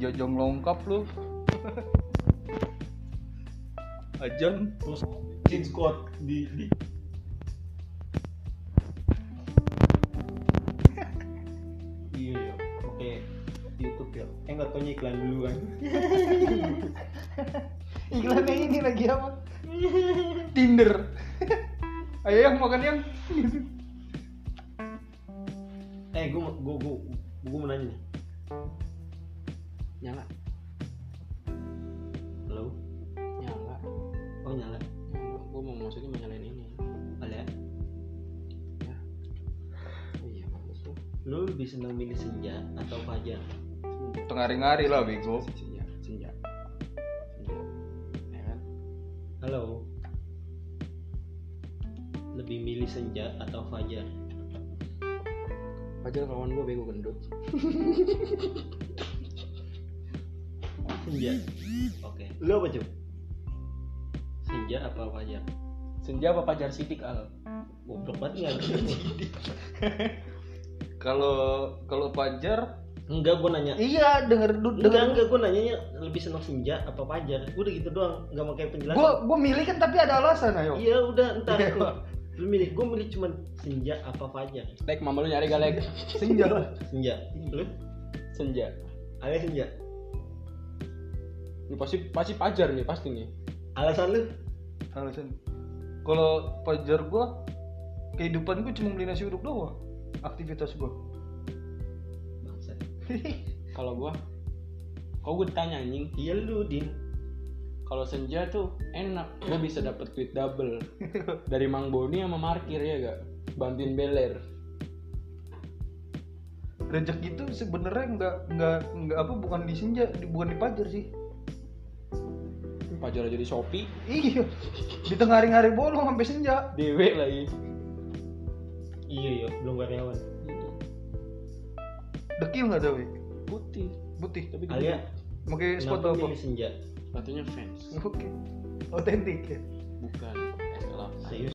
jojong oh, longkap lu ajan terus clean squad di, di iya iya oke YouTube ya eh nggak taunya iklan dulu kan iklannya ini lagi apa Tinder ayo yang makan yang eh gue gue gue gue mau nanya nih nyala halo nyala oh nyala gue mau maksudnya mau nyalain ini ada oh, iya bagus tuh lu lebih senang milih senja atau fajar tengari-ngari lah bego senja senja senja ya kan halo lebih milih senja atau fajar Fajar kawan gue bego gendut senja oke lu apa cuy senja apa fajar senja apa pajar sidik al goblok banget nggak kalau kalau pajar enggak gue nanya iya denger du- enggak denger enggak gue nanyanya lebih senang senja apa fajar udah gitu doang nggak pakai penjelasan gua gua milih kan tapi ada alasan ayo iya udah entar Iya, lu, Pak. lu milih gue milih cuman senja apa fajar lek mama lu nyari gak lek senja lah senja lu senja alias senja ini pasti pasti pajar nih pasti nih alasan lu alasan kalau pajar gua kehidupan gua cuma beli nasi uduk doang aktivitas gua Bangsat. kalau gue kok gue ditanya anjing iya lu din kalau senja tuh enak gue bisa dapet duit double dari mang boni sama markir ya gak bantuin beler rezeki itu sebenarnya nggak nggak nggak apa bukan di senja di- bukan di pajar sih pajar aja di shopee iya di tengah hari-hari bolong sampai senja dewe lagi iya iya belum karyawan Gitu. dekil nggak tapi putih putih tapi alias gendut. pakai spot kenapa apa milih senja Sepatunya fans oke otentik ya bukan es kelapa serius